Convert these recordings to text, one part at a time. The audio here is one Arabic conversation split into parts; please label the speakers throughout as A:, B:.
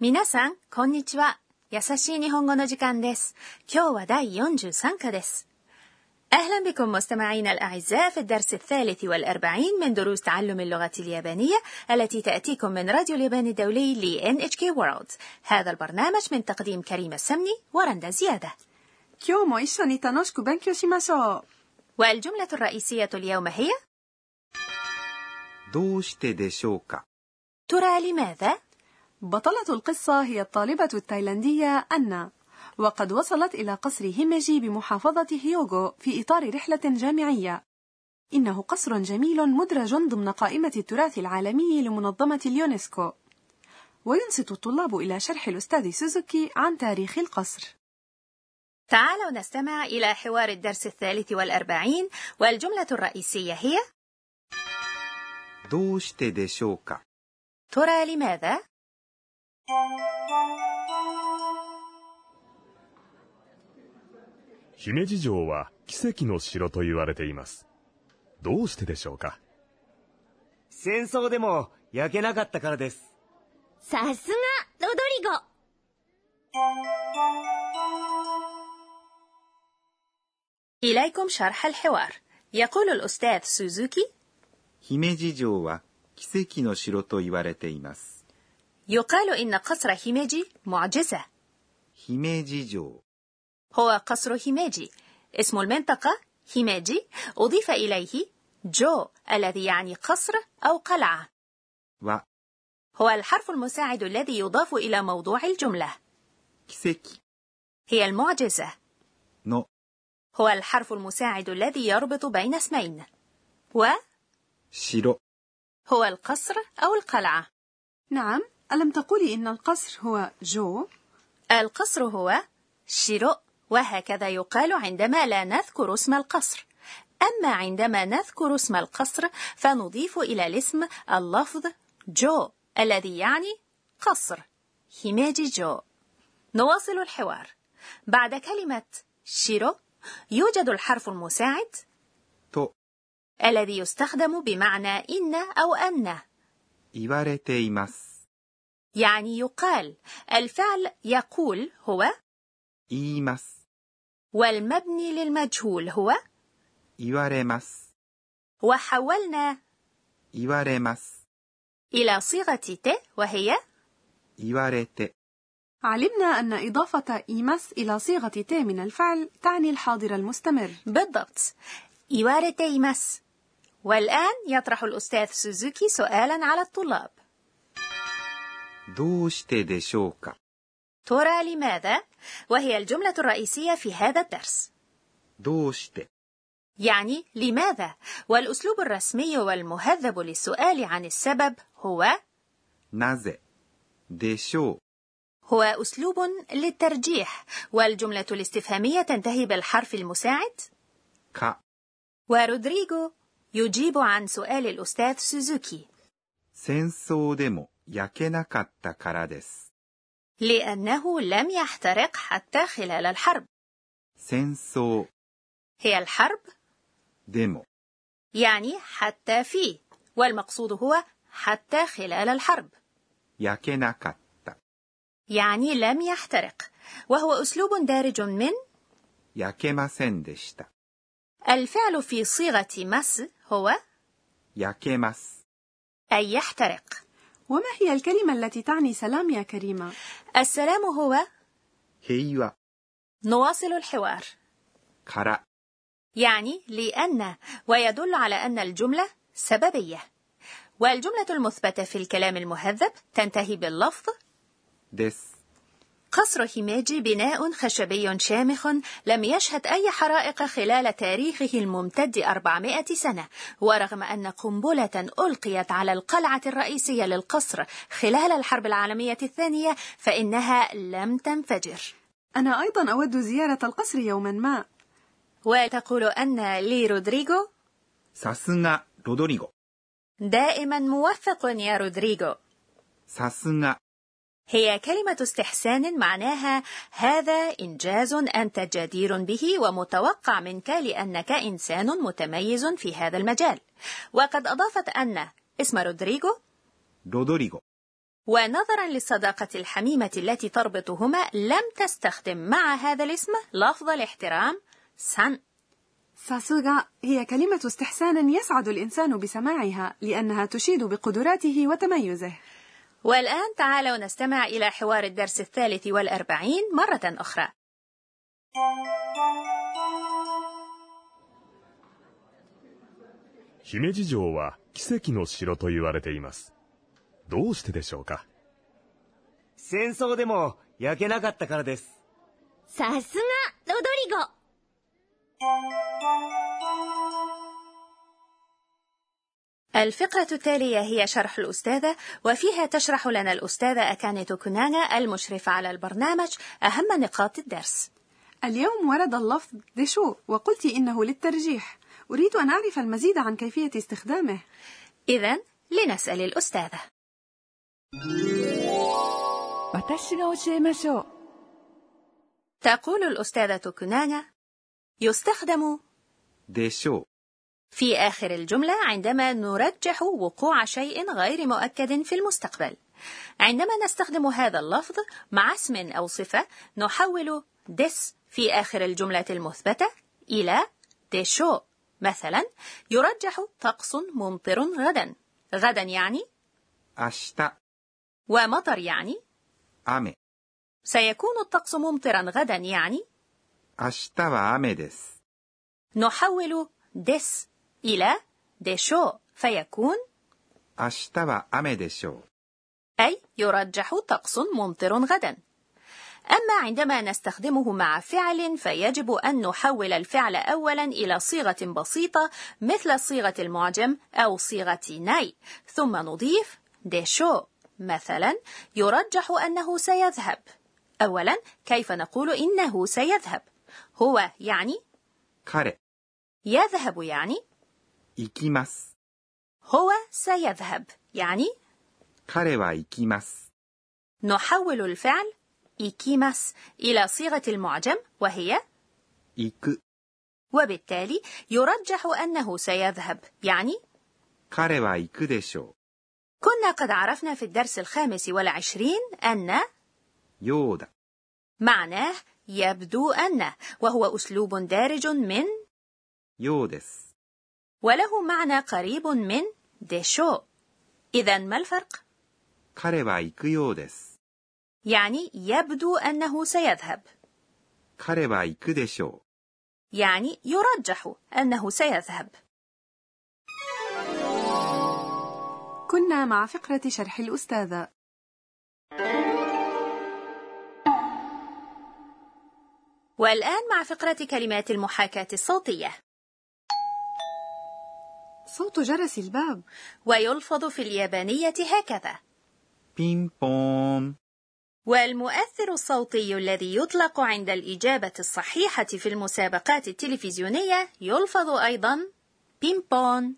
A: 皆さん、こんにちは。優しい日本語の時間です。今日は第43課です。أهلا بكم مستمعينا الأعزاء في الدرس الثالث والأربعين من دروس تعلم اللغة اليابانية التي تأتيكم من راديو اليابان الدولي ل NHK World هذا البرنامج من تقديم كريم السمني ورندا زيادة
B: 今日も一緒に楽しく勉強しましょう
A: والجملة الرئيسية اليوم هي
C: どうしてでしょうか
A: ترى لماذا؟
B: بطلة القصة هي الطالبة التايلاندية أنا وقد وصلت إلى قصر هيميجي بمحافظة هيوغو في إطار رحلة جامعية. إنه قصر جميل مدرج ضمن قائمة التراث العالمي لمنظمة اليونسكو. وينصت الطلاب إلى شرح الأستاذ سوزوكي عن تاريخ القصر.
A: تعالوا نستمع إلى حوار الدرس الثالث والأربعين والجملة الرئيسية هي
C: どうしてでしょうか
A: ترى لماذا؟
D: 姫路城は奇跡の城と言われています。どうしてでしょうか
E: 戦争でも焼けなかったからです。
F: さすが、ロドリゴ
A: イライコムシャルハルヘワール。ヤコルルスタースズキ
C: 姫路城は奇跡の城と言われています。
A: يقال إن قصر هيميجي معجزة.
C: 姫路城
A: هو قصر هيميجي اسم المنطقة هيميجي أضيف إليه جو الذي يعني قصر أو قلعة
C: و
A: هو الحرف المساعد الذي يضاف إلى موضوع الجملة
C: 奇跡
A: هي المعجزة
C: の
A: هو الحرف المساعد الذي يربط بين اسمين و
C: 城
A: هو القصر أو القلعة
B: نعم ألم تقولي إن القصر هو جو؟
A: القصر هو شيرو وهكذا يقال عندما لا نذكر اسم القصر أما عندما نذكر اسم القصر فنضيف إلى الاسم اللفظ جو الذي يعني قصر هيميجي جو نواصل الحوار بعد كلمة شيرو يوجد الحرف المساعد
C: تو
A: الذي يستخدم بمعنى إن أو أن
C: 言われています
A: يعني يقال الفعل يقول هو
C: 言います
A: والمبني للمجهول هو
C: 言われます
A: وحولنا
C: 言われます
A: إلى صيغة ت وهي
C: 言われて
B: علمنا أن إضافة إيمس إلى صيغة ت من الفعل تعني الحاضر المستمر
A: بالضبط إيواريتي إيمس والآن يطرح الأستاذ سوزوكي سؤالا على الطلاب
C: どうしてでしょうか
A: ترى لماذا؟ وهي الجملة الرئيسية في هذا الدرس.
C: どうして
A: يعني لماذا؟ والأسلوب الرسمي والمهذب للسؤال عن السبب هو
C: なぜでしょう
A: هو أسلوب للترجيح والجملة الاستفهامية تنتهي بالحرف المساعد
C: か
A: ورودريغو يجيب عن سؤال الأستاذ سوزوكي
C: 戦争でも焼けなかったからです
A: لأنه لم يحترق حتى خلال الحرب
C: 戦争
A: هي الحرب
C: でも
A: يعني حتى فيه والمقصود هو حتى خلال الحرب
C: 焼けなかった
A: يعني لم يحترق وهو أسلوب دارج من
C: 焼けませんでした
A: الفعل في صيغة مس هو
C: 焼けます
A: أي يحترق
B: وما هي الكلمة التي تعني سلام يا كريمة؟
A: السلام هو
C: 平和
A: نواصل الحوار
C: から
A: يعني لأن ويدل على أن الجملة سببية والجملة المثبتة في الكلام المهذب تنتهي باللفظ
C: です
A: قصر هيميجي بناء خشبي شامخ لم يشهد أي حرائق خلال تاريخه الممتد 400 سنة ورغم أن قنبلة ألقيت على القلعة الرئيسية للقصر خلال الحرب العالمية الثانية فإنها لم تنفجر
B: أنا أيضا أود زيارة القصر يوما ما
A: وتقول أن لي رودريغو
C: さすがロドリゴ
A: دائما موفق يا رودريغو
C: さすが
A: هي كلمة استحسان معناها هذا إنجاز أنت جدير به ومتوقع منك لأنك إنسان متميز في هذا المجال. وقد أضافت أن اسم رودريغو
C: ロドリゴ
A: ونظرا للصداقة الحميمة التي تربطهما لم تستخدم مع هذا الاسم لفظ الاحترام سان
B: ساسوغا هي كلمة استحسان يسعد الإنسان بسماعها لأنها تشيد بقدراته وتميزه
A: والآن تعالوا نستمع إلى حوار الدرس الثالث والأربعين مرة أخرى
D: 姫路城は奇跡の城と言われています。どうしてでしょうか
E: 戦争でも焼けなかったからです。
F: さすが、ロドリゴ
A: الفقرة التالية هي شرح الأستاذة وفيها تشرح لنا الأستاذة أكاني توكونانا المشرفة على البرنامج أهم نقاط الدرس
B: اليوم ورد اللفظ دشو وقلت إنه للترجيح أريد أن أعرف المزيد عن كيفية استخدامه
A: إذا لنسأل الأستاذة
B: 私が教えましょう
A: تقول الأستاذة توكونانا يستخدم
C: でしょ
A: في آخر الجملة عندما نرجح وقوع شيء غير مؤكد في المستقبل. عندما نستخدم هذا اللفظ مع اسم أو صفة نحول دس في آخر الجملة المثبتة إلى دشو مثلا يرجح طقس ممطر غدا غدا يعني
C: う。明日、
A: ومطر يعني
C: 雨。
A: سيكون الطقس ممطرا غدا يعني
C: 明日は雨です。
A: نحول دس إلى دشو فيكون
C: 明日は雨でしょう。
A: أي يرجح طقس ممطر غدا. أما عندما نستخدمه مع فعل فيجب أن نحول الفعل أولا إلى صيغة بسيطة مثل صيغة المعجم أو صيغة ناي ثم نضيف ديشو مثلا يرجح أنه سيذهب أولا كيف نقول إنه سيذهب؟ هو يعني
C: 彼、
A: يذهب يعني
C: 行きます。
A: هو سيذهب يعني
C: 彼は行きます。
A: نحول الفعل إيكيماس إلى صيغة المعجم وهي
C: 行く。
A: وبالتالي يرجح أنه سيذهب يعني
C: 彼は行くでしょ
A: كنا قد عرفنا في الدرس الخامس والعشرين أن
C: う。ようだ。
A: معناه يبدو أن وهو أسلوب دارج من
C: ようです。
A: وله معنى قريب من ديشو إذا ما الفرق؟
C: 彼は行くようです。
A: يعني يبدو أنه سيذهب
C: 彼は行くでしょ
A: يعني يرجح أنه سيذهب
B: كنا مع فقرة شرح الأستاذة
A: والآن مع فقرة كلمات المحاكاة الصوتية
B: صوت جرس الباب
A: ويلفظ في اليابانية هكذا
C: う。ピンポーン。
A: والمؤثر الصوتي الذي يطلق عند الإجابة الصحيحة في المسابقات التلفزيونية يلفظ أيضا بيمبون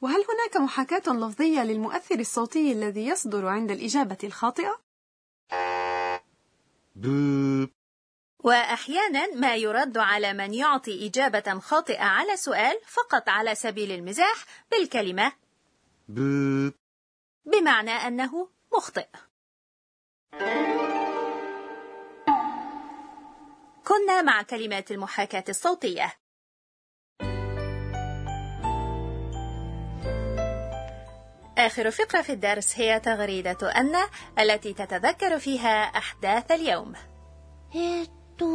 B: وهل هناك محاكاة لفظية للمؤثر الصوتي الذي يصدر عند الإجابة الخاطئة؟
C: ブー。
A: وأحيانا ما يرد على من يعطي إجابة خاطئة على سؤال فقط على سبيل المزاح بالكلمة
C: ブー。
A: بمعنى أنه مخطئ كنا مع كلمات المحاكاة الصوتية آخر فقرة في الدرس هي تغريدة أن التي تتذكر فيها أحداث اليوم
F: えっと、今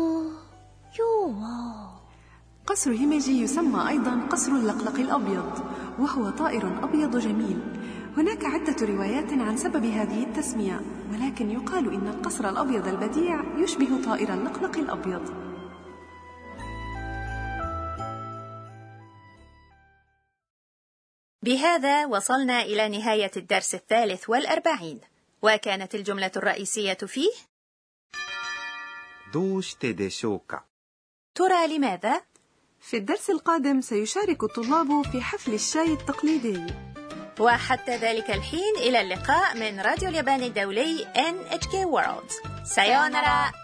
F: 日は、
B: قصر هيميجي يسمى أيضا قصر اللقلق الأبيض وهو طائر أبيض جميل هناك عدة روايات عن سبب هذه التسمية ولكن يقال إن القصر الأبيض البديع يشبه طائر اللقلق الأبيض
A: بهذا وصلنا إلى نهاية الدرس الثالث والأربعين وكانت الجملة الرئيسية فيه
C: どうしてでしょうか
A: ترى لماذا؟
B: في الدرس القادم سيشارك الطلاب في حفل الشاي التقليدي
A: وحتى ذلك الحين إلى اللقاء من راديو اليابان الدولي NHK World سايونارا